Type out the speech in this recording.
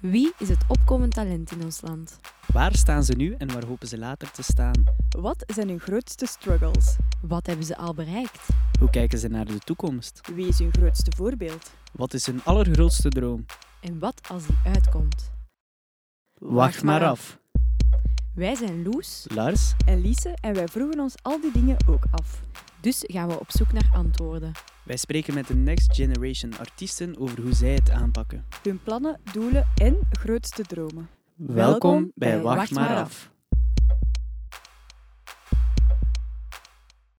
Wie is het opkomend talent in ons land? Waar staan ze nu en waar hopen ze later te staan? Wat zijn hun grootste struggles? Wat hebben ze al bereikt? Hoe kijken ze naar de toekomst? Wie is hun grootste voorbeeld? Wat is hun allergrootste droom? En wat als die uitkomt? Wacht maar af. Wij zijn Loes, Lars, En Lise en wij vroegen ons al die dingen ook af. dus gaan we op zoek naar antwoorden. wij spreken met de next generation artiesten over hoe zij het aanpakken. Hun plannen, doelen en grootste dromen. Welkom bij bij Wacht Wacht maar maar af.